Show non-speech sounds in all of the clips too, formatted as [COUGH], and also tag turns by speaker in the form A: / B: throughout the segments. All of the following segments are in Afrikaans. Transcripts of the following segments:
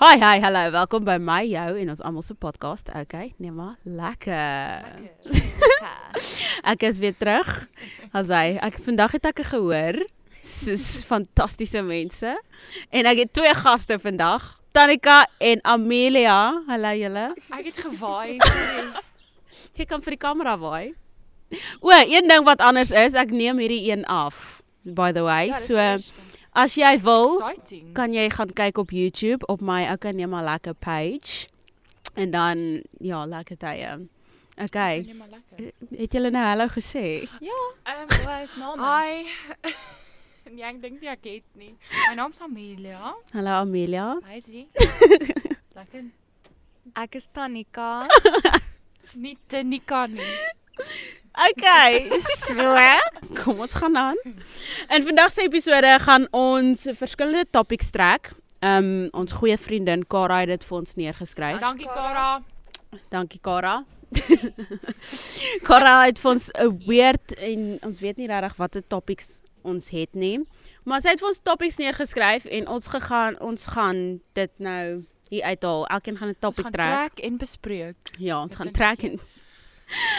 A: Hi, hi, hallo. Welkom by my, jou en ons almal se podcast. Okay, neem maar lekker. Ek is weer terug. As hy, ek vandag het ek 'n gehoor soos fantastiese mense en ek het twee gaste vandag, Tanika en Amelia. Hallo julle.
B: Ek het
A: [LAUGHS]
B: gewaai. sorry.
A: Jy kan vir die kamera waai. O, een ding wat anders is, ek neem hierdie een af. By the way,
B: Ja, dis
A: so
B: eerskom.
A: as jy wil,
B: Exciting.
A: Mm-hmm. kan jy gaan kyk op YouTube op my Ouka Neem maar lekker page. En dan ja, lekker tye.
B: Kan
A: Okay,
B: jy maar lekker.
A: het julle nou hallo gesê?
C: Ehm, um, waar is name?
B: Hi. [LAUGHS] Nee, ek dink nie ek het nie. My naam is Amelia.
A: Hallo Amelia.
B: Hi,
A: [LAUGHS]
B: sy. Lekker.
C: Ek is
B: [LAUGHS]
C: Tanika.
B: Dis nie te nie kan nie.
A: Okay, so [LAUGHS] kom ons gaan aan. In vandag se episode gaan ons verskillende topics trek. Um ons goeie vriendin Kara het dit vir ons neergeskryf.
B: Dankie Kara.
A: Dankie Kara. [LAUGHS] Kara het vir ons 'n weird en ons weet nie regtig watter topics ons het nie. Maar sy het vir ons topics neergeskryf en ons gegaan ons gaan dit nou hier uithaal. Elkeen gaan 'n
B: Ons
A: topic
B: gaan
A: trek.
B: trek en bespreek.
A: Ja, ons gaan
B: Ek dink
A: trek en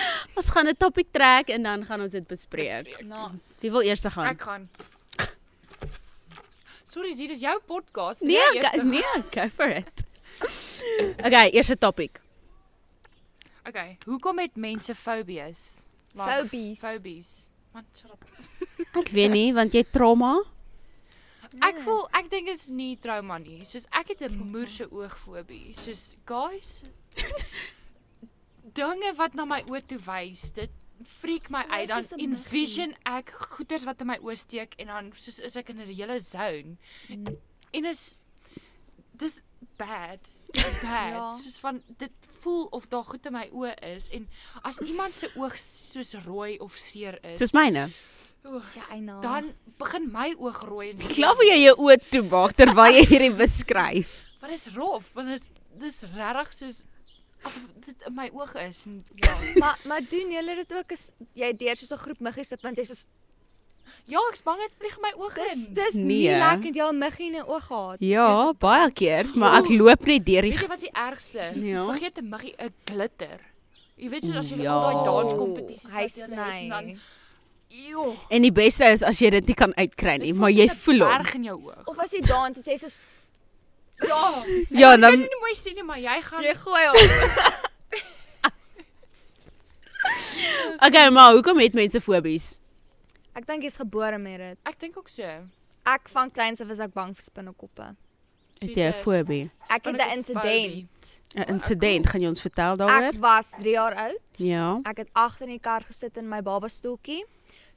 A: [LAUGHS] ons gaan 'n topic trek en dan gaan ons dit bespreek.
C: Na,
A: Wie wil eers gaan?
B: Ek gaan. Sorry, dit is jou podcast.
A: nee,
B: Jy
A: go,
B: eerste.
A: nee, go for it. [LAUGHS] Okay, eerste topic.
B: Okay, hoekom het mense fobies? Like,
C: fobies.
B: Fobies. Man, shut up.
A: Ek weet nie want jy trauma.
C: Nee.
B: Ek voel ek dink dit is nie trauma nie. Soos ek het 'n moerse oogfobie. Soos guys dinge wat na my oë toe wys, dit freak my
C: Maar
B: uit dan
C: soos 'n muggie.
B: envision ek goeders wat in my oë steek en dan soos is ek in 'n hele zone.
C: Mm.
B: En is dis
C: [LAUGHS]
B: bad. Bad.
C: Ja.
B: ja. Soos van dit voel of daar goed in my oë is en as iemand se oog soos rooi of seer is,
A: Soos myne.
B: oeg,
C: Dis jou eie naam.
B: dan begin my oog rooi en
A: Klaar hoe jy jou oë toe maak terwyl jy hierdie beskryf.
B: Maar dit is rof, want dit is dis regtig soos asof dit in my oog is en ja.
C: maar maar doen julle dit ook as jy deur so 'n groep muggies op want jy's soos
B: Ja, ek's bang dit vlieg in my oog in.
C: dis dis
A: Nee.
C: nie lekker dat jy 'n muggie in 'n oog gehad.
A: Ja, baie keer, maar ek
B: Oeh.
A: loop net deur die
B: Weet jy wat is die ergste?
A: Ja.
B: Vergeet 'n muggie 'n glitter. Jy weet soos as jy
A: Ja.
B: al daai
C: Danskompetisies
B: danskompetisies
C: hy
B: wat jy het en
C: sny.
B: dan joh.
A: en die beste is as jy dit nie kan uitkry nie,
B: dit
A: Nee, maar
B: voel
A: jy
B: soos 'n
A: voel hom.
B: berg in jou oog.
C: Of as jy dans, as jy soos
B: Ja.
A: Ja,
B: Ek kan
A: dan Ja.
B: dit nie mooi sien nie, maar [LAUGHS] jy gaan
C: gooi hom.
A: okay, maar hoekom het mense fobies?
C: Ek dink jy's gebore met dit.
B: Ek dink ook so.
C: Ek van kleins af was ek bang vir spinnekoppe.
A: Het jy 'n fobie?
C: Ek het 'n insident.
A: 'n Insident, gaan jy ons vertel daaroor?
C: Ek was 3 jaar oud.
A: Ja.
C: Ek het agter in die kar gesit in my baba stoeltjie.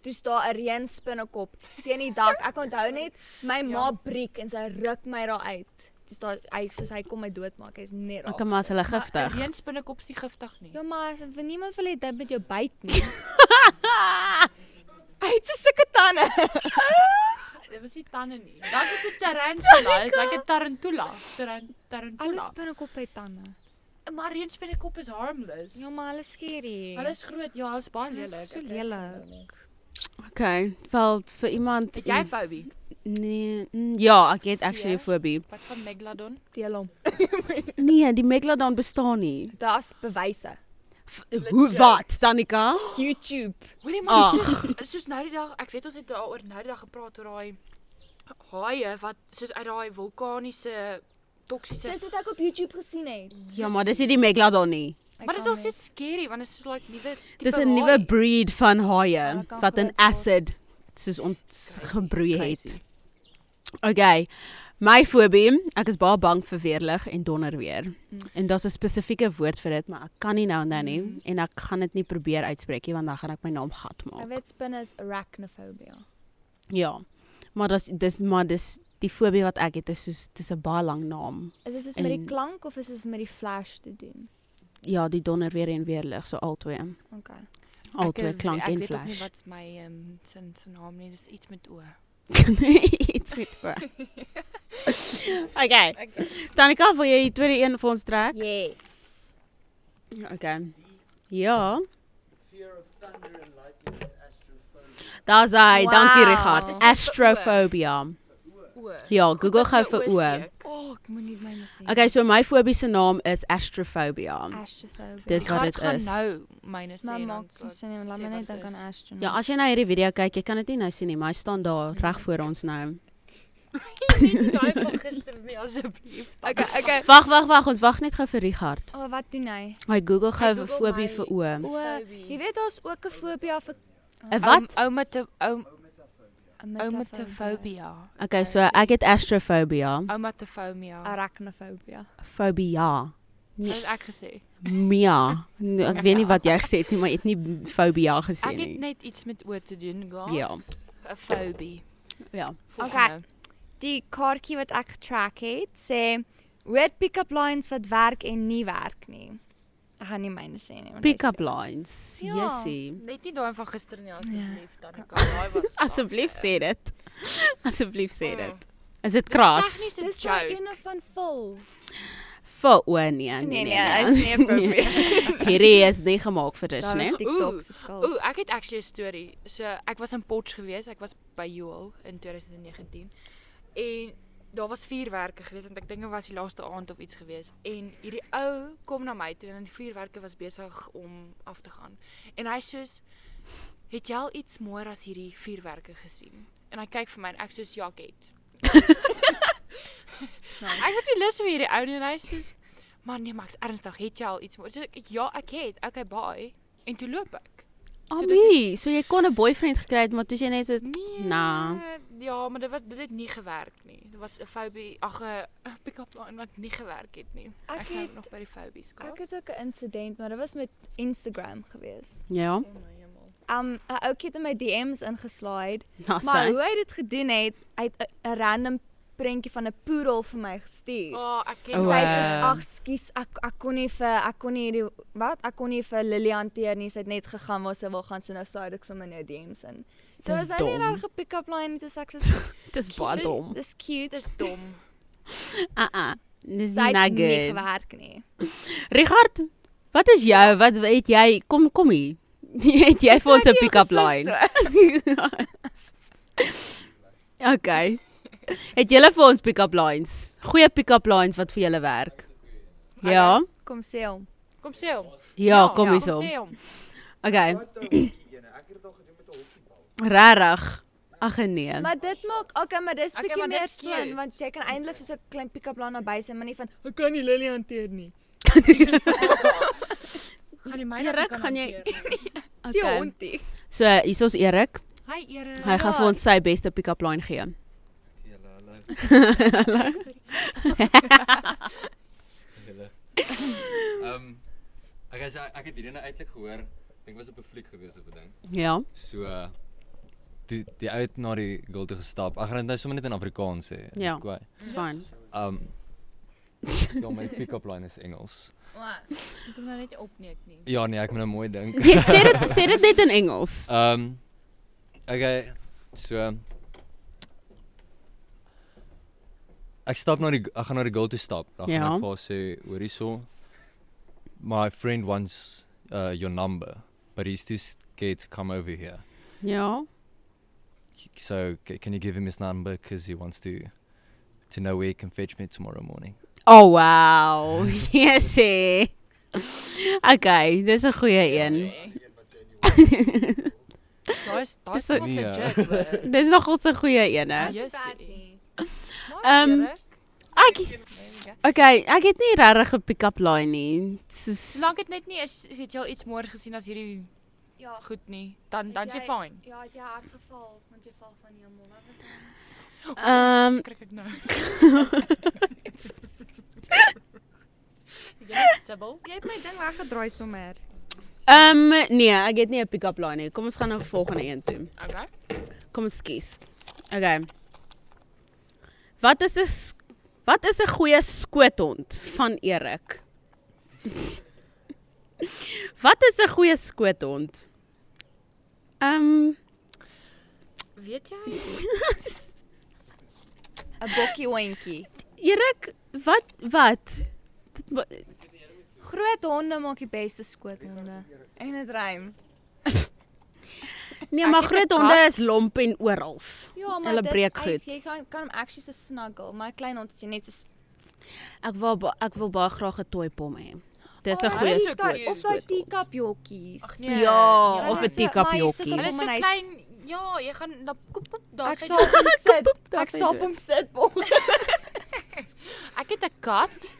C: Toe staan 'n reënspinnekop teen die dak. Ek onthou net my ma breek en sy ruk my daar uit. Toe staan hy soos hy kom my doodmaak. Hy's net daar.
A: Ek maar as hulle
B: Giftig.
A: giftig.
B: Een spinnekop is nie giftig nie.
C: Ja maar as vir niemand wil hê dit met jou byt [LAUGHS] nie. hy het so sulke tande.
B: Dit was nie tande nie. Dan is dit tarantula,
C: Oh
B: dit lyk 'n tarantula. Taran-
C: Alle
B: Tarantula.
C: spinnekoppe het tande.
B: Maar reënspinnekop is harmless.
C: Ja maar hulle skerry.
B: Hulle is groot, ja, hulle is baie
C: Hulle is
B: lelik.
C: so
B: Ek- ek-
C: lelik.
A: Okay, wel vir iemand
B: Het jy 'n fobie?
A: nee, mm, ja, ek het actually 'n
B: Seer?
A: fobie.
B: Wat van Megalodon?
C: deel hom.
A: Nee, die megalodon bestaan nie.
C: Daar's bewyse.
A: F- Hoe wat, Tanika?
C: YouTube.
B: Hoorie
A: Ag.
B: maar, soos, soos nou die dag, ek weet ons het daaroor nou die dag gepraat oor daai haie wat soos uit daai vulkaniese toksiese
C: Dis wat ek op YouTube gesien het.
A: Ja, maar dis nie die megalodon nie.
C: Ek
B: Maar dit is
C: kan
B: nog steeds scary want dit is soos like nuwe tipe
A: Dis 'n
B: haai. Ja,
A: nuwe breed van haie
C: Hulle kan
A: wat in
C: groot word.
A: acid soos ons gebroei het.
B: Crazy.
A: Okay. My fobie, ek is baie bang vir weerlig en donder weer.
B: Mm.
A: En daar's 'n spesifieke woord vir dit, maar ek kan nie nou en dan nie
B: Mm.
A: en ek gaan dit nie probeer uitspreek nie want dan gaan ek my naam gat
C: Ek
A: maak.
C: weet spinne is arachnophobia.
A: Ja. Maar dis dis maar dis die fobie wat ek het is soos dis 'n baie lang naam.
C: Is dit soos met die
A: En-
C: klank of is dit soos met die flash te doen?
A: Ja, die donder weer en weerlig, so albei.
C: Okay.
B: Ek-
A: Albei klank
B: ek
A: en
B: weet ook nie
A: flash.
B: Wat is my ehm sin se naam nie, dis iets met o.
A: Iets met oor. Okay. Tanika, wil jy die tweede een vir ons trek?
C: Yes.
A: Okay. Ja.
D: fear of thunder and lightning is astrophobia.
A: Daar's hy. Dankie
C: Wow.
A: Richard.
B: Dis net vir oë.
A: Astrofobia.
B: O.
A: Ja, Google gou vir oë.
C: O, oh, ek moet nie my mis nie.
A: Okay, so my fobie se naam is astrophobia.
B: Mm.
C: Astrophobia.
A: Dis
B: Ek
A: wat
B: gaan-
A: dit
B: ek gaan
A: is.
B: nou myne sê
C: maar
B: dan
C: maak
B: sal
C: nie
B: ek
C: sin nie, want laat
B: sê
C: my
B: wat
C: net
B: dit
C: dink
B: is.
C: aan astronaut.
A: Ja, as jy na hierdie video kyk, jy kan dit nie nou sien nie, maar hy staan daar
B: Mm.
A: reg voor ons nou.
B: Daai [LAUGHS] van gister nie [LAUGHS] asseblief.
C: Okay, okay.
A: Wag, wag, wag, ons wag net gou vir Richard.
C: O, oh, wat doen hy?
A: Hy Google
B: Hy
A: gou
B: Google
A: fobie
B: my-
A: vir oë.
C: O, jy weet daar's ook 'n fobie vir
A: 'n Wat?
B: Ouma te ouma
C: ouma te fobie.
B: Oumatofobia.
A: Okay, so ek het astrophobia.
B: Oumatofobia.
E: Arachnofobia.
A: Fobia.
B: Dit het ek gesê.
A: Mia. Nee, Ek weet nie wat jy gesê het nie, maar jy het nie fobia gesê
B: Ek het
A: nie.
B: net iets met oë te doen, glas.
A: Ja.
B: 'n Fobie.
A: Ja.
B: nee,
C: Okay. Die kaartjie wat ek getrack het, sê weird pick-up lines wat werk en nie werk nie. Ek gaan nie myne sê nie. want hy is-
A: Pick-up lines.
C: Ja.
A: Jessie.
B: Net nie daai van gister nie asseblief, dan ek daai
A: [LAUGHS]
B: was. Ja.
A: Asseblief sê dit. Asseblief sê
B: Mm.
A: dit. Is dit
B: Dis
A: kras?
B: nie 'n
E: Dis daai
B: joke.
E: ene van vol.
A: Vir o nee, [LAUGHS]
C: Nee
A: nee
C: nee, hy's nie [LAUGHS] appropriate.
A: Hierdie is nie gemaak vir dit,
C: Dan
A: né?
C: is nee. TikTok se skuld.
B: Ooh, ek het actually 'n storie. So ek was in Potch gewees. Ek was by Joel in 2019. En daar was vuurwerke gewees want ek dink dit was die laaste aand of iets gewees. En hierdie ou kom na my toe en die vuurwerke was besig om af te gaan. En hy soos het jy al iets mooier as hierdie vuurwerke gesien? En hy kyk vir my en ek soos ja, ek het. Ek was nie lus vir hierdie ou nie en hy soos man nee, maar ek's ernstig, het jy al iets mooier? So ek ja, ek het. Okay, bye. En toe loop ek. so dit
A: Ami, so jy kon 'n boyfriend gekry het, maar toe is jy net so
B: Nee.
A: Nah.
B: Ja, maar dit was dit het nie gewerk nie. Dit was 'n fobie, ag 'n pick-up line wat nie gewerk het nie.
E: Ek
B: Ek hou
E: het-
B: nog by die fobies gehad.
E: Ek het ook 'n insident, maar dit was met Instagram gewees.
A: ja,
B: Oh my hemel.
E: Um 'n ouetjie het in my DM's ingeslaai
A: nou
E: Maar
A: sê.
E: hoe hy dit gedoen het, hy het 'n- 'n random prentjie van 'n poedel vir my gestuur.
B: O, oh, ek ken
A: Oh,
E: En
B: sy.
E: sy sê
A: wow.
E: ag skus ek ek kon nie vir ek kon nie hierdie wat ek kon nie vir Lily hanteer nie sy het net gegaan waar sy wil gaan so nou saai ek sommer nou DM's in. So
A: Dis
E: as hy net
A: dom.
E: daar gepick up line het is ek so
A: Dis baie [LAUGHS] dom.
E: dis cute.
B: Dis dom.
A: Ah ah. Dis
E: Sy
A: nie
E: het nie
A: good.
E: gewerk nie.
A: Richard, wat is jou? Wat het jy? Kom kom hier. [LAUGHS] Het jy vir ons 'n pick-up line? [LAUGHS] Okay. Het julle vir ons pick-up lines? Goeie pick-up lines wat vir julle werk? Ja.
E: Kom sê hom.
B: Kom sê hom.
A: Ja, kom
B: ja,
A: hierso.
B: Kom sê hom.
A: Okay.
F: Wat 'n hokkie ene. Ek het dit al gedoen met 'n hokkiebal.
A: Regtig. Ag nee.
E: Maar dit maak okay, maar dis
B: Okay,
E: bietjie
B: maar
E: meer
B: dis cute.
E: seun want jy kan eintlik so 'n klein pick up line naby sy maar nie van ek kan nie Lily hanteer nie.
B: Gaan jy my
A: Erik,
B: dan kan
A: gaan jy-
B: hanteer?
E: Sy
A: Okay.
E: hondie.
A: So hier's ons Erik.
B: Hi Erik.
A: Hy gaan vir ons sy beste pick-up line gee. [LAUGHS]
D: Julle, hallo. Julle. Ehm, ek as ek het hierdie nou eintlik gehoor, ek dink was op 'n fliek gewees of 'n ding.
A: Ja.
D: So uh, die die ou het na die girl toe gestap. Ek gaan dit nou sommer net in Afrikaans sê. is dit
A: Ja.
D: kwaai?
A: Dis fyn.
D: Ehm Ja, my pick-up line is Engels.
B: Moet hom nou net nie opneek nie.
D: Ja nee, ek moet nou mooi dink.
A: Jy sê dit sê dit net in Engels.
D: Um, okay, so um, ek stap na die ek gaan na die girl toe stap. Dan gaan
A: Ja.
D: ek vir haar sê, "Hoor hierso. My friend wants uh your number, but he's too scared to come over here.
A: Ja.
D: So c- can you give him his number cuz he wants to to know where he can fetch me tomorrow morning."
A: Oh wow. [LAUGHS] Yesie. Okay, dis 'n goeie een.
F: Een wat jy nie hoor.
B: Daai is daai
A: Dis
B: is
A: ook-
B: nog
D: Nee, ja.
B: legit. hoor.
A: Dis nogal 'n goeie een. hè?
B: Yes,
E: Bad
B: eh.
E: nie.
A: Ehm,
B: Nice, Erik.
A: Ek Okay, ek het nie regtig 'n pick-up line nie. Soos-
B: Solank dit net nie is het jy al iets mooier gesien as hierdie
E: Ja,
B: goed nie. Dan
E: Het
B: dan's jy
E: jy-
B: fyn.
E: Ja, het jy hard geval, want jy val van die hemel. Wat was dit?
A: Ehm
B: skrik ek nou. Ja, Sibyl.
C: Jy het my ding weggedraai sommer.
A: ehm nee, ek het nie 'n pick-up line nie. Kom ons gaan na die volgende een toe.
B: Okay.
A: Kom ons kies. Okay. Wat is 'n s- wat is 'n goeie skoothond van Erik? [LAUGHS] wat is 'n goeie skoothond? Ehm
B: Weet jy?
E: 'n Bokkie hondjie.
A: [LAUGHS] Erik, wat wat? Dit ma-
E: Groot honde maak die beste skoothonde. En dit rym.
A: Nee,
B: Ek
A: maar
B: het 'n
A: groot honde is lomp en oral.
E: Ja,
A: Hulle
E: dit-
A: breek
E: hy-
A: goed.
E: Jy kan kan hom actually so snuggle, maar 'n klein hond is jy net so s-
A: Ek wil ba- ek wil baie graag ''n toy pom hê. Dis 'n
B: Oh,
A: goeie
B: dis so
A: skoot.
B: cute.
C: Of daai
A: skootpom.
C: teacup jokkies.
B: Ag, nee.
A: Ja,
B: Ja,
A: of
B: maar
A: 'n
B: so-
C: maar jy sit
A: teekapjokkie.
C: op
B: Hulle
C: hom
B: is
C: en
B: so
C: hy's-
B: klein. Ja, jy gaan dan koop koop daar
C: Ek
B: sy
C: sal op
E: [LAUGHS]
C: hom sit.
A: daar
C: Ek
A: sê
C: sal op
A: dit.
C: hom sit. Bom.
B: Ek het 'n kat.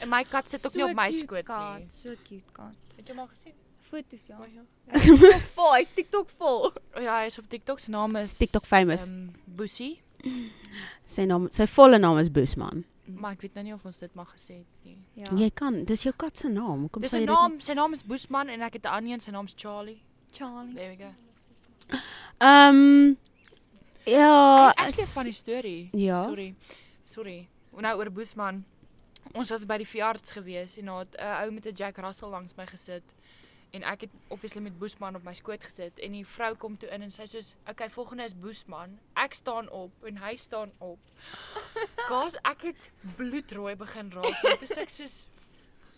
B: En my kat sit ook nie op my skoot nie.
C: Kat, so cute kat.
B: Het jy hom al gesien?
C: Foto's
B: [LAUGHS]
C: ja.
B: O, ja.
C: Vol, hy's TikTok vol.
B: O Oh Ja, hy is op TikTok. Sy naam is
A: TikTok famous.
B: ehm, Boesie,
A: Sy naam, sy volle naam is Boesman.
B: maar ek weet nou nie of ons dit mag gesê het nie.
C: Ja.
A: Jy kan, dis jou kat se naam. Hoekom
B: Dis
A: sê
B: sy
A: jy dit? nie?
B: naam, sy naam is Boesman en ek het 'n ander een, sy naam is Charlie.
C: Charlie.
B: There we go.
A: Ehm ja,
B: Ek het 'n
A: is-
B: funny storie.
A: Ja.
B: Sorry. Sorry. Nou oor Boesman. Ons was by die verjaardags gewees en daar het eh, 'n ou met 'n Jack Russell langs my gesit en ek het obviously met Boesman op my skoot gesit en die vrou kom toe in en sy sê soos, "Okay, volgende is Boesman." Ek staan op en hy staan op. Gas, ek het bloedrooi begin raak. Dit is ek soos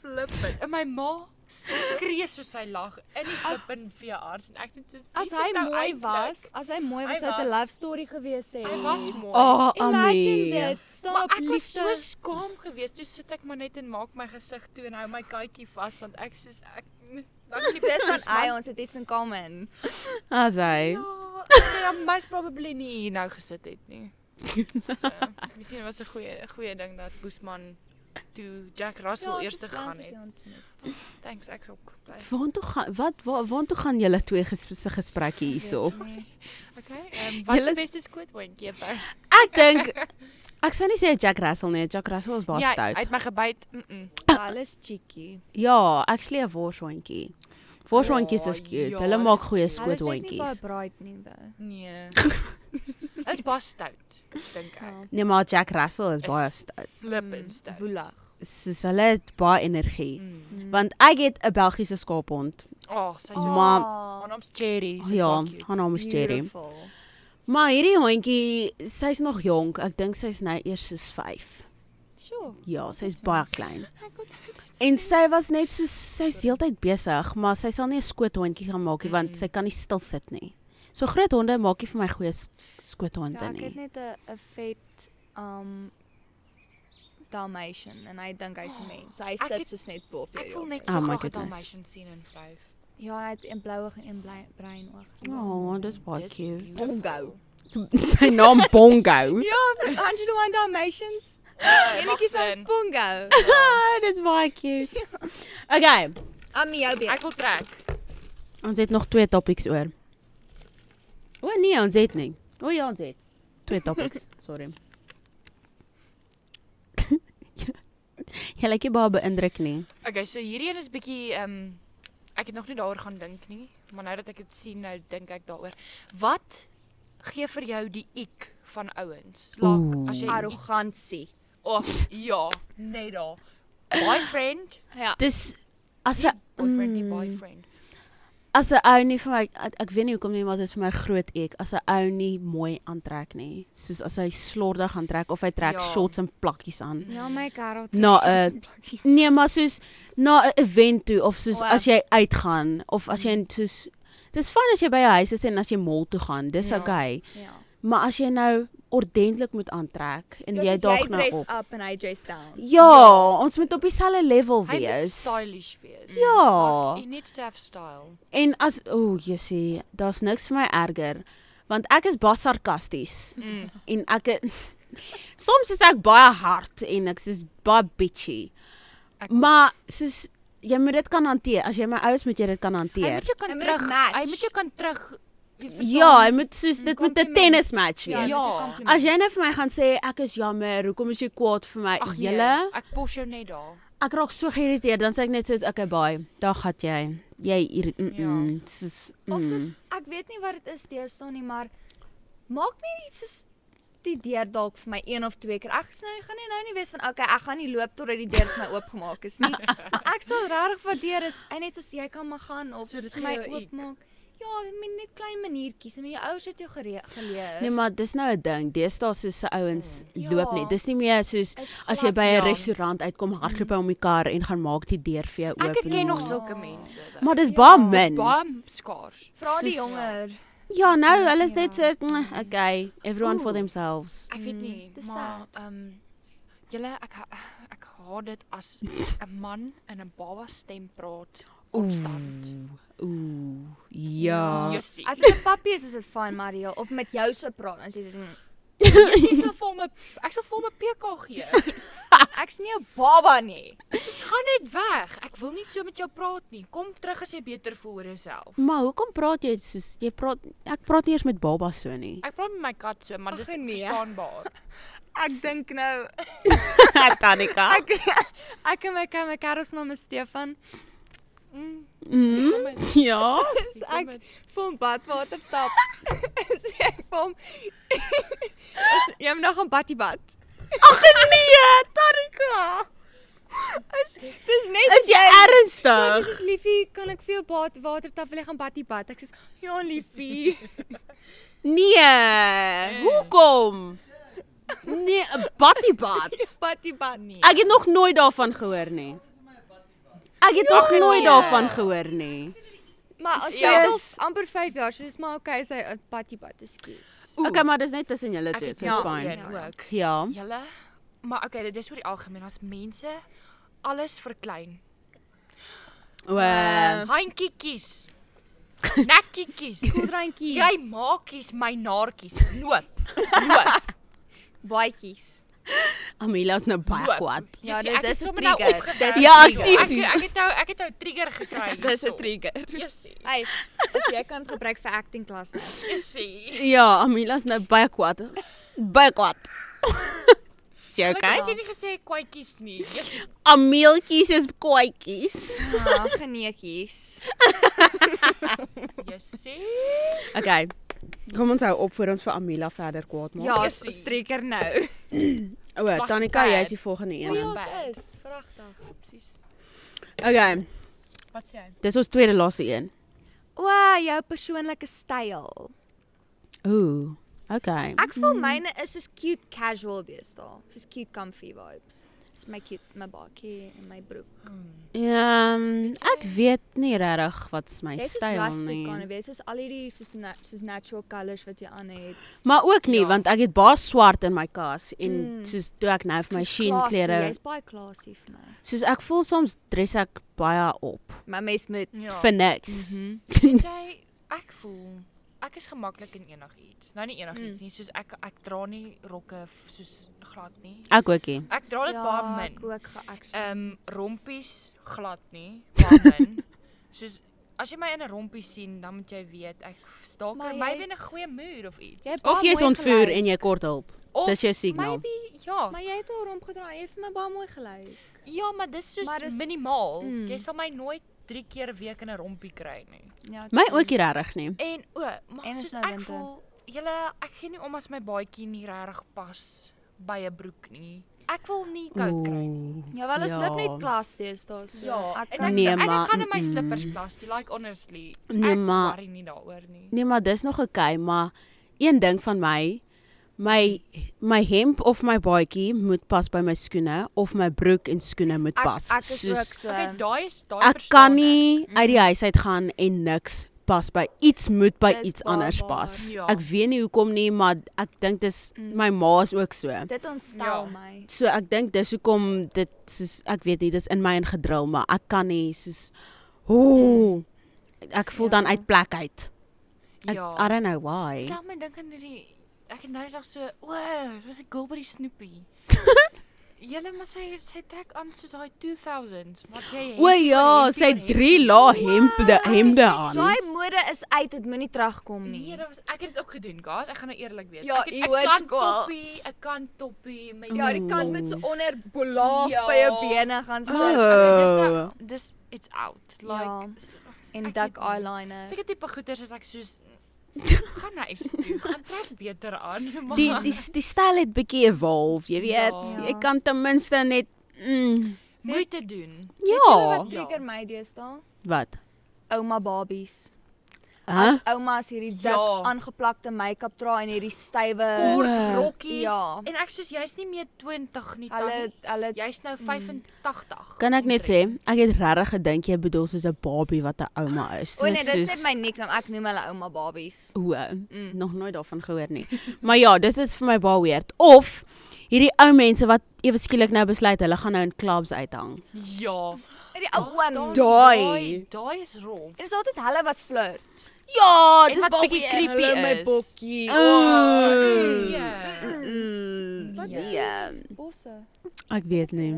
B: flippend. En my ma skree soos sy lag in die klip in veearts en ek net soos,
C: As
B: "Wie
C: hy
B: sit nou
C: mooi
B: eindelijk?"
C: was, as hy mooi was,
B: Hy
C: sou dit 'n
B: was.
C: love story gewees het.
B: Hy was mooi.
A: Oh,
C: Imagine
A: Amie.
C: dit. Staan
B: Maar
C: op
B: ek was so
C: liefde.
B: skaam geweest. Toe sit ek maar net en maak my gesig toe en hou my katjie vas want ek soos ek mm, dankie
C: So dis wat hy ons het iets in common.
A: As hy.
B: Ja, Sy het mys "Um, probably nie hier nou gesit het nie. So, miskien was 'n goeie 'n goeie ding dat Boesman toe Jack Russell ja, eers gegaan het. Thanks ek ook. Bly.
A: Waartoe gaan wat wa- waartoe gaan julle twee ges, se gesprekke hierso?
B: Okay. Ehm um, wat is
A: Julle
B: die
A: is-
B: beste skootwindjie vir?
A: Ek dink ek sou nie sê Jack Russell nie. Jack Russell is baie
B: Ja, hy
A: stout.
B: het my gebyt. Mm -mm.
C: Alles cheeky.
A: Ja, actually 'n worshoentjie. Worshoentjies is
B: Ja,
A: cute.
B: ja,
A: Hulle
B: dis
A: maak goeie
B: cute.
C: Hulle sê nie baie
A: skoothoentjies.
C: bright nie though.
B: Nee. Dit's baie stout, dink ek.
C: Ja. Mm,
A: Nee, maar Jack Russell is
B: Is-
A: baie stout.
B: Flippend stout.
C: Woelig.
A: Soos hulle het baie energie.
B: Mm.
A: Want ek het 'n Belgiese skaaphond,
B: Ag, sy is
A: maar
B: Haar naam's Cherry.
A: Oh, ja, haar naam is Cherry. Maar hierdie hondjie, sy's nog jonk. Ek dink sy's nou eers soos 5.
C: Sjoe.
A: Ja, sy's baie klein. En sy was net so sy's heeltyd besig, maar sy sal nie 'n skoothondjie gaan maak nie want sy kan nie stil sit nie. So groot honde maak nie vir my goeie s- skoothonde
C: Ja, ek het
A: nie.
C: net 'n 'n vet um Dalmatian en hy dink hy's 'n mens. So hy
B: ek
C: sit
B: het-
C: soos net bo op jou.
B: Ek wil
C: rug.
B: net
A: Oh
B: so
A: my
B: graag 'n
A: goodness.
B: Dalmatian sien in vryf.
C: Ja, en hy het 'n blou oog en 'n blou bruin oog.
A: Ja, oh, dis baie
B: Dis
A: cute.
B: beautiful.
C: Bongo.
A: [LAUGHS] sy naam [LAUGHS] Bongo.
C: Ja, Angelo en Dalmatians. Enetjie
B: maak
C: so
B: sin.
C: Spongo.
A: Ah, Dit is baie cute. [LAUGHS] Okay,
C: Ami jou beer.
B: Ek wil trek.
A: ons het nog twee topics oor. O nee, ons het nie. O ja, ons het twee [LAUGHS] topics. Sorry. Ja, Jy lyk nie baie beïndruk nie.
B: Okay, so hierdie een is bietjie ehm um, ek het nog nie daaroor gaan dink nie, maar nou dat ek dit sien, nou dink ek daaroor. Wat gee vir jou die ek van ouens? Like as jy ek-
C: Arrogansie.
B: of ja, net daar. Boyfriend?
A: Dis as 'n
B: Nie Boyfriend,
A: mm,
B: nie boyfriend.
A: As 'n ou nie vir my ek, ek weet nie hoekom nie, maar dit is vir my groot ek as 'n ou nie mooi aantrek nie. Soos as hy slordig aantrek of hy trek
B: Ja.
A: ja. shorts en plakkies aan.
C: Ja, my Karel.
A: Na eh, 'n Nee, maar soos na 'n event toe of soos
C: O,
A: as jy uitgaan of as jy in soos dis fyn as jy by jou huis is en as jy mall toe gaan, dis
B: Ja.
A: ja. okay.
C: Ja.
A: Maar as jy nou ordentlik moet aantrek en
C: Ja,
A: jy
C: soos
A: daag nou
C: dress
A: op.
C: up en hy dress down.
A: Ja, ons moet op dieselfde level
B: Hy moet
A: wees.
B: stylish wees.
A: Ja.
B: He needs to have style.
A: En as o, oh, jy sê, daar's niks vir my erger want ek is bas sarkasties.
B: Mm.
A: En ek [LAUGHS] soms is ek baie hard en ek is baie bitchy.
B: Ek-
A: Maar soos jy moet dit kan hanteer. As jy my ouers moet jy dit kan
B: Hy moet
A: hanteer.
B: jou kan
C: Hy moet dit
B: terug.
C: match.
B: Hy moet jou kan terug. jy verstaan?
A: Ja, jy moet soos dit met 'n
C: compliment.
A: tennis match
C: Ja,
A: wees.
C: dis
A: Ja,
B: Ja.
C: een compliment.
A: As jy net vir my gaan sê ek is jammer, hoekom is jy kwaad vir my?
B: Ag nee,
A: Julle,
B: ek pos jou net daar.
A: ek raak so geïrriteerd, dan sê ek net soos okay, bye. Daar gat jy. Jy hier mm,
B: Ja.
A: mm, soos
C: Of
A: mm.
C: soos ek weet nie wat dit is teëstaan nie, maar maak net iets soos die deur dalk vir my een of twee keer. Ek snou gaan nie nou nie wees van okay, ek gaan nie loop totdat die deur vir my oopgemaak is [LAUGHS] nie. maar ek sal regtig waardeer is en net soos jy kan maar gaan of
B: So dit
C: vir
B: gee
C: my
B: jou iek.
C: oopmaak. Ja, ek meen net klein maniertjies. Ek meen jou ouers het jou gere- geleer.
A: Nee, maar dis nou 'n ding. Deesdae soos se ouens
C: Ja.
A: loop net. Dis nie meer soos
C: Is
A: as jy
C: glad
A: by 'n
B: ja.
A: restaurant uitkom, hardloop hy om die kar en gaan maak die deur vir jou oop.
B: Ek
A: en
B: ken nog
A: dan-
B: sulke mense. daar.
A: Maar dis
C: Ja,
A: baie
C: dis
A: min.
B: baie skaars.
C: Vra die
A: soos-
C: [LAUGHS] jonger.
A: Ja, nou hulle is
C: Ja.
A: net so "Mm, okay, everyone for themselves.
B: Ek weet nie,
C: dis
B: maar ehm Julle ek ha- ek haat dit
A: [LAUGHS]
B: as 'n man in 'n baba stem praat konstant.
A: Oeh. Oeh. Ja.
B: Jussie.
C: As dit 'n papie is, is dit fyn, maar jy of met jou se praat, dan sê jy mm,
B: Ek [LAUGHS] sal vir hom 'n ek sal vir hom 'n PK [LAUGHS] gee.
C: ek's nie 'n baba nie.
B: Dis gaan net weg. Ek wil nie so met jou praat nie. Kom terug as jy beter voel oor jouself.
A: Maar hoekom praat jy soos jy praat ek praat nie eers met babas so
B: [LAUGHS]
A: nie.
B: Ek praat met my kat so, maar
C: Ag,
B: dis
C: nee.
A: [LAUGHS]
B: verstaanbaar.
C: Ek dink nou
A: Ek kan nie kan.
C: ek ek en my kat, my kat se naam is Stefan.
B: Mm,
A: Mm, ja.
C: So ek vir hom badwater [LAUGHS] tap. Sê ek vir hom Is jy moet nou gaan badie bad.
A: Ag nee, Tarika.
C: Dis net
A: Is jy
C: Ek
A: ernstig?
C: sê liefie, kan ek vir jou bad water tap wil jy gaan badie bad? Ek sê ja liefie.
A: Nee. Hoekom? Nee, 'n battiebat.
C: Badie [LAUGHS] bad nie.
A: Ek het nog nooit daarvan gehoor nie. Ek het nog
C: Nee.
A: nooit daarvan gehoor nie.
C: Maar as jy
A: Ja.
C: al amper 5 jaar, so dis maar okay sy badie eh, bad is cute.
A: Okay, maar dis net tussen julle twee, so is fyn.
B: Ja, ook.
A: Ja.
B: Julle maar okay, dit is oor die algemeen as mense alles verklein.
C: Eh.
A: Wel.
B: Ehm, Handjie kies. Nekkie kies.
C: Koeldrankie,
B: Jy maakies my naartjies. Loop. Loop.
C: baadjies.
A: Amelia's nou baie
B: Loop.
A: kwaad.
B: Jy
C: Ja,
B: sien, ek
C: dit is
B: is
C: 'n
B: sommer nou
C: trigger.
B: opge-
C: Dis
A: Ja, ek sien.
B: Ek ek het nou ek het nou trigger
C: [LAUGHS]
B: gekry.
C: trigger.
B: Jessie.
C: Hey, as jy kan gebruik vir acting klas. nou.
B: Jessie.
A: Ja, Amelia's nou baie kwaad. Baie
C: [LAUGHS]
A: kwaad. Is jy
B: Ek het
A: okay?
B: jy nie gesê kwaaitjies nie. Jessie.
A: Ameeltjies is kwaadjies.
C: Ja, geneetjies.
B: Jessie.
A: Okay. Kom ons hou op voor ons vir Amela verder kwaad maak.
C: Ja,
B: Jessie.
C: s- trigger nou.
A: O, Tanika,
B: bad.
A: jy's die volgende
C: Ja,
A: een.
B: Bad.
C: is pragtig.
B: Presies.
A: Okay,
B: Wat sê hy?
A: dis ons tweede laaste een.
C: O, jou persoonlike styl.
A: Ooh. Okay.
C: Ek voel myne is soos cute casual deesdae. Soos cute comfy vibes. Dis my cute my bakkie en my broek.
A: Ehm, ek weet nie regtig wat is my
C: Jy's soos
A: styl nee.
C: rustic aan,
A: nie.
C: weet soos al hierdie soos na, soos natural colors wat jy aan het.
A: Maar ook nie,
C: Ja.
A: want ek het baie swart in my kas en soos toe ek nou vir my
C: Mm. Soos
A: sheen
C: classy,
A: klere,
C: Jy's baie klasie vir my.
A: soos ek voel soms dress ek baie op
C: My mes met
B: Ja.
A: vir niks.
C: Mhm.
B: Weet
C: [LAUGHS]
B: jy, ek voel ek is gemaklik in enigiets. Nou nie
C: Hmm.
B: enigiets nie, soos ek ek dra nie rokke f- soos glad nie.
A: Ek ookie.
B: Ek dra dit baie min.
C: Ja, Ek ook geaksie.
B: Ehm um, rompies glad nie, baie
C: [LAUGHS]
B: min. soos as jy my in 'n rompie sien, dan moet jy weet ek staak
C: Maar
B: er
C: jy
B: maybe
C: het-
B: in 'n goeie mood of iets.
C: Jy het
A: Of
C: baie
A: jy's
C: mooi
A: ontvoer
C: gelyk.
A: en jy kort hulp.
B: Of
A: Dis jou signaal.
B: Maybe ja.
C: Maar jy het al rondgedraai, jy het vir my baie mooi gelei.
B: Ja, maar dis soos
C: Maar
B: maar
C: dis-
B: dis, minimaal.
C: Mm.
B: Mm. Jy sal my nooit 3 keer 'n week in 'n rompie kry nie.
C: Ja.
A: My ookie regtig nie.
B: En o, maar
C: En is
B: soos
C: nou
B: ek
C: winter.
B: voel, julle ek gee nie om as my baadjie nie regtig pas by 'n broek nie. Ek wil nie koud kry nie.
C: Ja, wel ons
A: Ja.
C: loop net klas deesdae so.
B: Ja,
C: ek
B: en
C: kan
B: ek
A: Nee,
B: en
A: maar,
B: ek gaan in my
A: mm-mm.
B: slippers klas, toe, like honestly.
A: Nee,
B: ek
A: maar-
B: worry nie daaroor nie.
A: Nee, maar dis nog oukei, maar een ding van my my my hemp of my baadjie moet pas by my skoene of my broek en skoene moet
C: ek,
A: pas.
C: ek is ook so.
B: Okay, daai is daai
A: Ja. ek
B: verstaan Mhm.
A: kan nie uit die huis uit gaan en niks pas by iets moet by
C: Dis
A: iets
C: waar,
A: anders
C: waar,
A: pas.
B: ja. Mm.
A: Ek weet nie hoekom nie, maar ek dink dis my ma is ook so.
C: Dit ontstel
B: Ja.
C: my.
A: So ek dink dis hoekom dit soos ek weet nie, dis in my ingedrul, maar ek kan nie soos ooh ek voel dan uit plek uit. Ek,
B: Ja.
A: I don't know why.
B: Laat my dink aan hierdie ek het nou net so, o, dis 'n girl by
A: [LAUGHS]
B: die Snoopy. Julle maar sy sy trek aan soos daai 2000s, maar jy
A: O ja, sy het drie lae hemde hemde aan.
C: Daai mode is uit, dit moenie terugkom nie.
B: Nee, dit was ek het dit ook gedoen, guys. Ek gaan nou eerlik wees.
C: Ja,
B: ek
C: jy
B: het,
C: hoor
B: ek kan
C: skool.
B: toppie, ek kan toppie, my ja,
C: die kant met so onder bolaaf
B: Ja.
C: gaan
B: dis nou
A: Oh.
B: dis it's out. Like
C: Ja.
B: ja.
C: en
B: Ek
C: dik
B: weet nie.
C: eyeliner.
B: seker tipe goeders as ek soos
A: [LAUGHS]
B: gaan na huis toe, gaan trek beter aan. [LAUGHS] Maar,
A: Die die die styl het bietjie evolve, jy weet.
B: Ja.
A: Ek kan ten minste net mm,
B: moeite doen.
A: ja.
C: Wat trigger my deesdae?
A: Wat?
C: Ouma babies.
A: Hæ?
C: As oumas hierdie dik
B: Ja.
C: aangeplakte make-up dra en hierdie stywe
B: Kort
A: Oeh.
B: rokkies
C: Ja.
B: en ek soos jy's nie meer 20 nie,
C: hulle
B: tannie.
C: hulle
B: Jy's nou 85.
A: Mm. Kan ek net sê, ek het regtig gedink jy bedoel soos 'n babie wat 'n ouma is.
C: O nee, dis net
A: soos-
C: my nickname. Ek noem hulle ouma babies. Mm.
A: O, nog nooit daarvan gehoor nie. maar ja, dis dit vir my baie weird. Of hierdie ou mense wat ewe skielik nou besluit hulle gaan nou in clubs uithang.
B: Ja.
C: Hierdie ou oom.
B: Daar's
A: daai.
B: Daai is rof.
C: En is altyd hulle wat flirt.
A: Ja,
B: En wat bietjie creepy is. Nee. My
A: bokkie.
B: Yeah.
A: Wat die?
C: Bosse.
A: Ja.
C: oh,
A: Ek weet nie.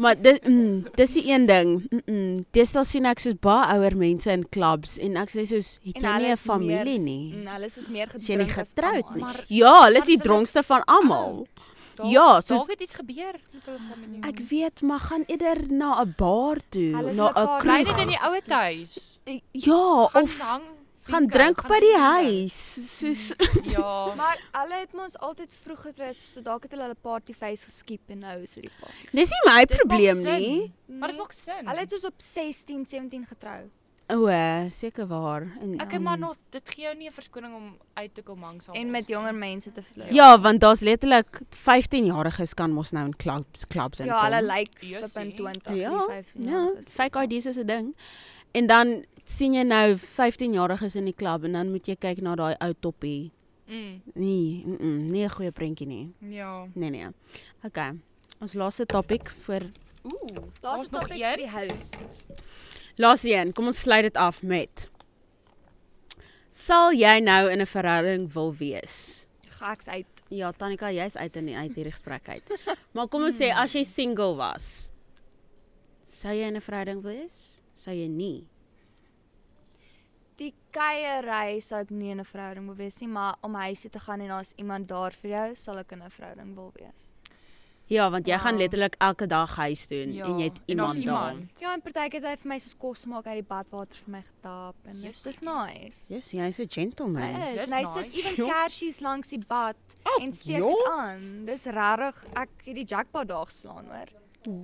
A: Maar dis mm, dis die een ding. Mm -mm. Dis dan sien ek soos baie ouer mense in clubs en ek sê soos het
C: En
A: jy
C: hulle
A: nie 'n
C: is
A: familie
C: meer- Mm.
A: nie.
C: En hulle is meer
A: Is jy nie
C: gedrink as
A: getroud
C: almal.
A: nie?
B: Maar
A: Ja, hulle is die
B: maar
A: dronkste van almal.
B: Dalk-
A: Ja, soos-
B: dalk het iets gebeur met hulle familie.
A: Ek weet, maar gaan eerder na 'n bar toe,
C: Hulle
A: na 'n
C: mekaar
B: bly
A: kroeg.
B: dit in die ouer huis.
A: Ja,
B: Gaan
A: of
B: hang
A: gaan
B: pinke,
A: drink
B: gaan
A: by die
B: pinke.
A: huis. Soos [LAUGHS]
B: Ja.
C: Maar hulle het ons altyd vroeg getrek, so dalk het hulle hulle partyface geskiep en nou is dit die party.
A: [LAUGHS]
C: Nee,
A: Dis nie my
B: Dit maak
A: probleem
B: sin.
A: nie.
B: Maar dit maak sin.
C: Hulle het soos op 16, 17 getrou.
A: O, seker waar. En ehm,
B: Ek en maar nog dit gee jou nie 'n verskoning om uit te kom hang saam.
C: En met jonger mense te flirt.
A: Ja, want daar's letterlik 15-jariges kan mos nou in clubs clubs in.
C: Ja, hulle lyk
B: Jussie.
C: like, flip in 20,
A: Ja,
C: nie 15.
A: Ja, fake IDs is 'n ding. En dan sien jy nou 15-jariges in die klub en dan moet jy kyk na daai ou toppie.
B: Mm,
A: Nee, mm -mm, nie 'n goeie prentjie nie.
B: ja.
A: Nee nee. Okay. Ons laaste topik vir
B: Ooh.
C: Laaste
B: daar's nog
C: topic
B: een?
C: vir die host.
A: Laaste een, kom ons sluit dit af met Sal jy nou in 'n verhouding wil wees?
C: Gaks uit.
A: Ja, Tanika, jy's uit in die uit hierdie gesprek uit. maar kom ons sê as jy single was, sou jy in 'n verhouding wees? Sou jy nie?
C: Die keierery sou ek nie in 'n verhouding wil wees nie, maar om huis toe te gaan en daar's iemand daar vir jou, sal ek in 'n verhouding wil wees.
A: Ja, want jy gaan
B: Ja.
A: letterlik elke dag huis toe ja. en jy het
B: en daar's
A: iemand daar.
B: [LAUGHS]
C: Ja, en partykeer het hy vir my soos kos maak uit die badwater vir my getap en dis dis nice.
A: Yes, jy's 'n gentleman.
C: Hy
B: Dis
C: is en hy sit
B: nice.
C: [LAUGHS] ewen
A: Jo.
C: kersies langs die bad [LAUGHS] oh, en steek dit aan. Dis regtig ek het die jackpot daar geslaan hoor.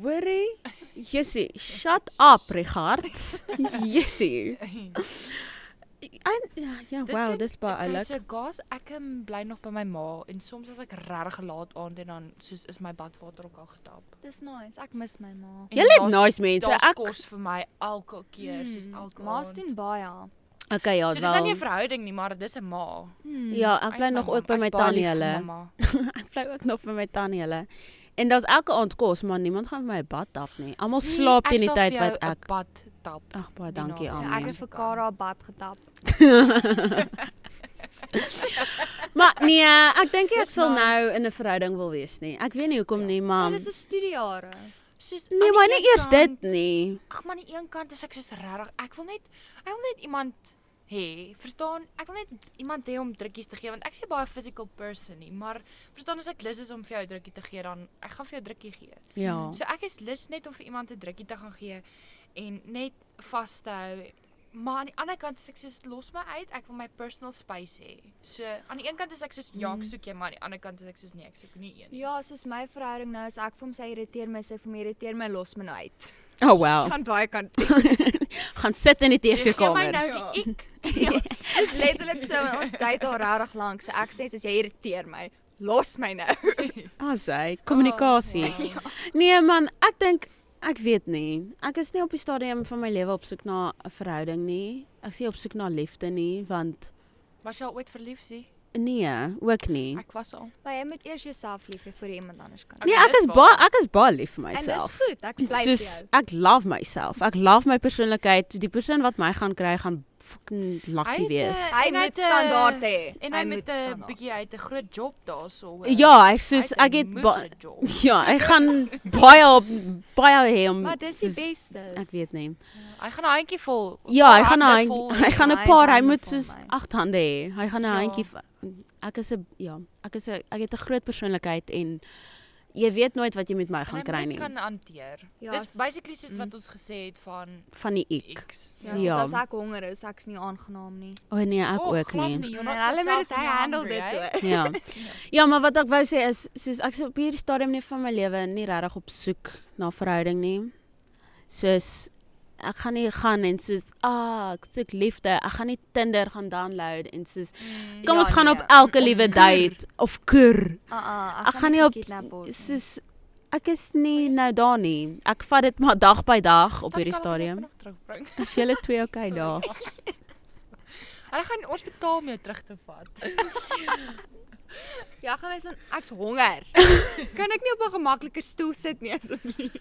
A: Worry. Jessie, shut up, Richard. [LAUGHS] Jessie. En ja, wow, dis baie oulik.
B: So gas, ek em, bly nog by my ma en soms as ek regtig laat aand en dan soos is my badwater ook al getap.
C: Dis nice. Ek mis my ma.
B: En
A: Julle het
B: daar's-
A: nice mense.
B: Daar's
A: Ek
B: kos vir my elke keer, soos elke
C: Hmm, Ma's
B: aand.
C: doen baie.
A: Okay, ja,
B: So dis nou nie 'n
A: wel.
B: verhouding nie, maar dis 'n ma.
C: Hmm.
A: Ja, ek bly
B: Eintlik
A: nog
B: my
A: ook
B: ma.
A: by
B: Ek's
A: my
B: baie
A: tannie
B: lief vir
A: hulle.
B: mamma.
A: Ek bly ook nog by my tannie hulle. En daar's elke aand kos, maar niemand gaan vir my 'n bad tap nie. Almal
B: Sien,
A: slaap
B: ek
A: teen die
B: sal
A: tyd
B: vir jou
A: wat
B: 'n
A: ek
B: bad tap.
A: Ag, baie
B: die
A: dankie
B: naam.
C: Ja, ek
A: aan.
C: het vir Kara bad getap.
A: Maar nee, ek
B: [LAUGHS]
A: dink nie ek
B: Dis
A: sal
B: nice. Ja.
A: nou in 'n verhouding wil wees nie. Ek weet nie hoekom nie, maar
C: Hulle is so studiejare.
B: Soos
A: nee,
B: aan
A: maar
B: die
A: nie
B: een
A: eers
B: kant-
A: dit nie.
B: Ag man, aan die een kant is ek soos regtig, ek wil net ek wil net iemand hê, verstaan? Ek wil net iemand hê om drukkies te gee want ek sê baie physical person nie, maar verstaan as ek lus is om vir jou 'n drukkie te gee dan ek gaan vir jou 'n drukkie gee.
A: Ja.
B: So ek is lus net om vir iemand 'n drukkie te gaan gee en net vas te hou. Maar aan die ander kant is ek soos los my uit, ek wil my personal space hê. So aan die een kant is ek soos ja,
A: Mm.
B: ek soek jou, maar aan die ander kant is ek soos nee, ek soek nie een nie.
C: Ja, soos my verhouding nou is ek vir hom sê irriteer my, sê vir my irriteer my, los my nou uit.
A: Oh wow.
C: Gaan daai kant.
A: [LAUGHS] Gaan sit in die
B: Jy gee my
A: TV-kamer.
B: nou die ek.
C: Dis Ja, letterlik so, want ons date al regtig lank. So ek sê as jy irriteer my, los my nou.
A: Ah, sy kommunikasie.
B: Oh, wow.
A: Nee man, ek dink ek weet nie. Ek is nie op die stadium van my lewe op soek na 'n verhouding nie. Ek sê op soek na liefde nie, want
B: Was jy al ooit verlief, sien?
A: nee, ook nie.
B: Ek was al.
C: Maar jy moet eers jouself lief hê voor jy iemand anders kan.
A: Nee,
B: Okay,
A: ek
B: dis
A: is
B: waar.
A: baie ek is baie lief vir
C: En dis
A: myself. [CLEARS THROAT]
C: goed, ek bly vir jou.
A: Soos ek love myself. Ek love my persoonlikheid. Die persoon wat my gaan kry gaan fucking lucky
B: Hy het,
A: wees.
B: eh,
C: Hy
B: En hy
C: moet
B: het, eh,
C: standaard hê.
B: En hy met
C: moet
B: 'n
C: standaard.
B: bietjie uit 'n groot job daarso. hoor.
A: Ja, ek
B: Hy
A: soos
B: een
A: ek het ba-
B: moeëse job.
A: [LAUGHS] ja, ek gaan baie op baie hê om
C: Maar dis die
A: soos-
C: beste. is.
A: Ek Mm, dus weet nie.
B: Hy gaan 'n handjie vol.
A: Ja, hy
B: vol
A: gaan
B: hande
A: hy
B: vol-
A: [LAUGHS] hy gaan 'n
C: my
A: paar, hy
C: hande
A: moet
C: vol
A: soos
C: my.
A: agt hande hê. Hy gaan 'n
B: Ja.
A: handjie v- ek is 'n ja, ek is 'n ek het 'n groot persoonlikheid en jy weet nooit wat jy met my
B: en hy
A: gaan kry
B: moet
A: nie
B: kan hanteer.
C: Ja,
B: Dis
C: s-
B: basically soos wat ons gesê het van
A: van die ek.
B: X.
C: Ja,
A: Ja.
C: soos as ek honger is, ek's nie aangenaam nie.
A: O oh, nee, ek
B: Och,
A: ook
B: glad
A: nie.
B: you're
C: En
B: not
C: hulle moet
B: yourself
C: dit
B: when
C: hy
B: you're
C: handel
B: hungry,
C: dit
B: hey?
A: [LAUGHS]
C: toe.
A: Ja. Ja, maar wat ek wou sê is soos ek se op hierdie stadium nie van my lewe nie regtig op soek na verhouding nie. Soos ek gaan nie gaan en soos ah, ek soek liefde. Ek gaan nie Tinder gaan download en soos kom
C: Ja,
A: ons gaan
C: nee.
A: op elke liewe date of kur.
C: Ah ah,
A: Ek gaan nie op
C: gekidnap word nie.
A: soos ek is nie nou daar nie. Ek vat dit maar dag by dag op
B: Dan
A: hierdie
B: kan hulle
A: stadium.
B: nog terugbring.
A: Is julle twee
B: [LAUGHS]
A: okay [LAUGHS] daar?
B: Hulle gaan ons betaal om jou terug te vat.
C: Ja, gaan mens, ek's honger. [LAUGHS] kan ek nie op 'n gemakliker stoel sit nie asseblief?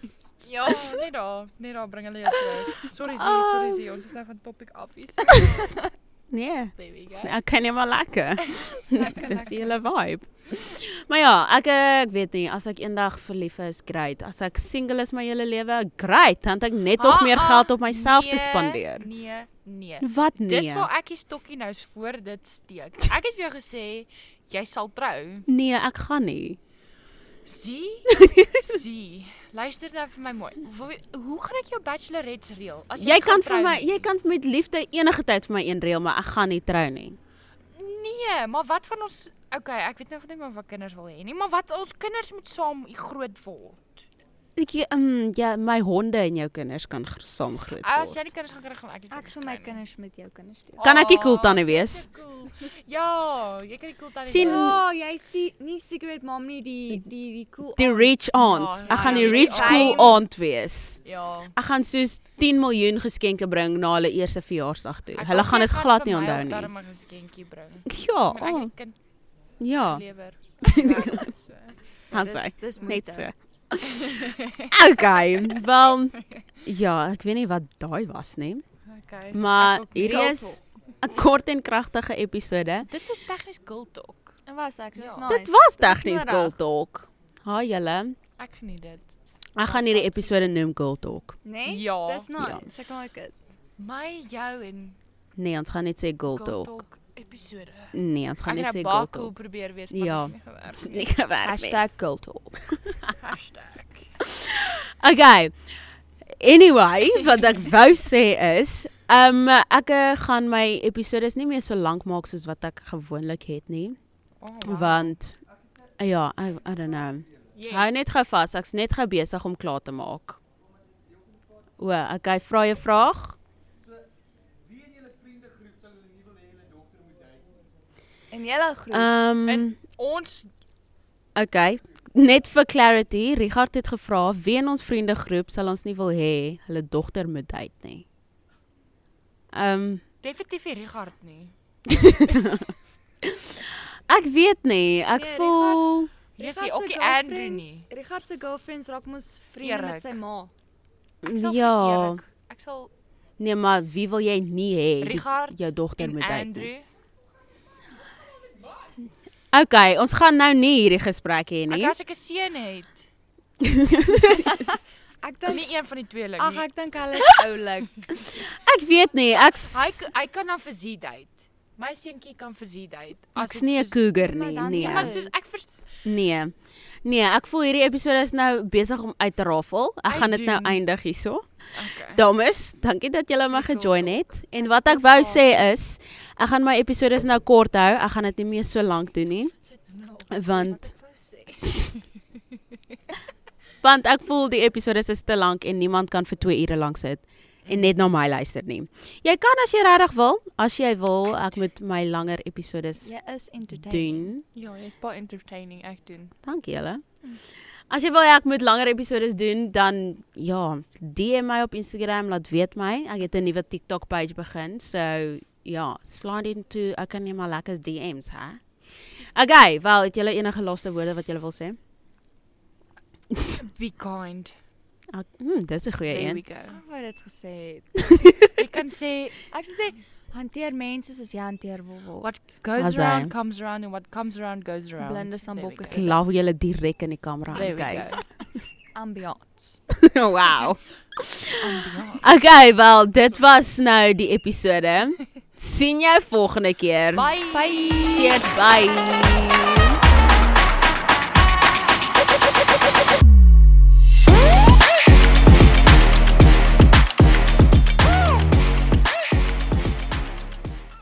B: Ja, net daar, net daar bring hulle jou terug. Sorry, Zee,
A: Ah.
B: sorry, Zee, ons is nou van topic af. hier. So,
A: Nee.
B: There we go.
A: Ek kan net maar lekker. [LAUGHS] Dis
B: [LAUGHS] lekker.
A: die hele vibe. Maar ja, ek eh, ek weet nie, as ek eendag verlief is, great. As ek single is my hele lewe, great, dan het ek net nog meer
B: Ah, ah,
A: geld op myself te
B: nee,
A: spandeer.
B: Nee, nee.
A: Wat
B: Dis
A: nee?
B: waar ek die stokkie nou s- voor dit steek. Ek het vir jou gesê jy sal trou.
A: Nee, ek gaan nie. [LAUGHS]
B: Sien? Sien. Luister nou vir my mooi. Hoe, hoe gaan ek jou bachelorette reël? As
A: Jy
B: nie
A: kan
B: gaan
A: vir
B: trou
A: my
B: nie?
A: jy kan met liefde enige tyd vir my een reël, maar ek gaan nie trou nie.
B: Nee, maar wat van ons Okay, ek weet nou van net maar wat kinders wil hê nie, maar wat ons kinders moet saam groot word.
A: Ek um, ja, my honde en jou kinders kan gr- saam groot word.
B: As jy nie kinders gaan kry gaan ek nie
C: Ek sal
B: kry
C: my
B: nie.
C: kinders met jou kinders deel.
A: Kan ek die
B: Ah,
A: cool tannie
B: jy's
A: wees?
B: so cool. Ja, jy kan die cool tannie
A: Sien,
B: wees.
C: Ja, jy's Oh, die nie cigarette mom nie, die die die cool.
A: Die rich aunt.
B: Ja,
A: Ek gaan die
B: ja,
A: rich
B: ja.
A: cool aunt wees.
B: Ja.
A: Ek gaan soos 10 miljoen geskenke bring na hulle eerste verjaarsdag toe.
B: Ek
A: Hulle
B: hoop
A: gaan
B: jy
A: dit glad nie
B: vir my
A: onthou
B: ook darm 'n
A: nie.
B: geskenkie bring.
A: [LAUGHS] Ja,
B: Maar ek
A: oh,
B: het kind
A: ja, [LAUGHS]
B: lewer. So.
C: Ah,
A: gaan sy.
C: Dis
A: Net
C: moeite.
A: so.
B: [LAUGHS]
A: Okay, wel ja, ek weet nie wat daai was nie,
B: Okay.
A: maar
B: Ek ook nie.
A: hierdie is 'n kort en kragtige episode.
B: Dit is tegnies girl talk.
C: Dit was ek, dit was
B: Ja.
C: nice.
A: Dit was tegnies
C: reg.
A: Girl Talk. Haai julle.
B: Ek geniet dit.
A: Ek gaan hierdie episode noem Girl Talk.
C: Nee?
B: Ja.
C: Dis nice. Ek like it.
B: My jou en
A: Nee, ons gaan net sê Girl
B: girl
A: Talk.
B: talk episode.
A: Nee, ons gaan
B: Ek
A: net
B: het
A: sê
B: nou
A: Girl
B: baie cool
A: Talk. [LAUGHS]
B: probeer wees,
A: Ja.
B: maar dit het nie gewerk nie.
A: Nee, werk nie.
C: #girltalk.
B: Hashtag.
A: Okay. Anyway, wat ek wou sê is, ehm um, ek eh, gaan my episodes nie meer so lank maak soos wat ek gewoonlik het nie,
B: Oh,
A: want ja, I, I don't know.
B: Yes.
A: Hou net gou vas, ek's net gou besig om klaar te maak. O, okay, vra jy 'n vraag?
F: Wie in julle vriendegroep sal julle nie wil hê julle dogter moet date nie?
C: En julle
B: Ja.
C: groep.
A: Ehm um,
B: In ons
A: okay, net vir clarity, Richard het gevra wie in ons vriendegroep sal ons nie wil hê hulle dogter moet date nie. Ehm um,
B: definitief nie Richard nie.
A: Ek weet nie, ek nee,
C: Nee, Richard.
A: voel
B: Jy
C: Richard
B: sê
C: se
B: ook nie Andrew
C: girlfriends-
B: nie.
C: Richard se girlfriends raak mos vriende met
B: Erik.
C: sy ma.
B: Ek sal
A: ja,
B: vir Erik- Ek sal
A: nee, maar wie wil jy nie hê die-
B: Richard
A: jou dogter
B: en
A: moet date nie?
B: Andrew.
A: Okay, ons gaan nou nie hierdie gesprek hê
B: Ek
A: nie.
B: as ek 'n seun het.
C: Ek dink
B: Nie een van die tweeling
C: Ag,
B: nie.
C: ek dink [LAUGHS] hulle is oulik.
A: Ek weet nie, ek's
B: Hy k- hy kan dan vir Z date. My seentjie kan vir Z date. As
A: ek's
B: het
A: nie 'n
B: soos-
A: cougar
C: Maar
A: nie,
C: dan
A: nee.
C: sê
B: Maar
C: hy-
B: soos ek vers
A: Nee. Nee, ek voel hierdie episode is nou besig om uit te rafel. Ek
B: Hy
A: gaan dit nou
B: doen.
A: eindig hierso.
B: Okay.
A: Dames, dankie dat julle my
B: Sukkel.
A: gejoin het. En wat ek wou sê is, ek gaan my episodes nou kort hou. Ek gaan dit nie meer so lank doen nie,
B: Nou.
A: want want ek voel die episode is te lank en niemand kan vir 2 ure lank sit en net na my luister nie. Jy kan as jy regtig wil, as jy wil, ek moet my langer episodes
C: Jy is entertaining.
A: doen.
B: Ja, jy's baie entertaining ek doen.
A: Dankie julle. As jy wil hê ek moet langer episodes doen, dan ja, DM my op Instagram, laat weet my. Ek het 'n nuwe TikTok page begin, so ja, slide into ek kan net maar lekker DM's, hè. Okay, wel, het julle enige laaste woorde wat julle wil sê?
B: Be kind.
A: Ek, hmm, dis 'n goeie
B: There we
A: een.
B: go.
C: Ek wou dit gesê het.
B: Jy kan sê
C: Ek sou sê hanteer mense soos jy hanteer wil word.
B: what goes
A: As
B: around
A: hy.
B: comes around and what comes around goes around.
C: Blinde
B: There we
C: sambokke
B: go.
A: Ek love julle direk in die kamera
B: There we
A: kyk.
B: go.
C: Ambiance.
A: [LAUGHS] wow. Okay, wel, dit was nou die episode. sien jou volgende keer.
B: Bye.
C: Bye.
A: Cheers, bye.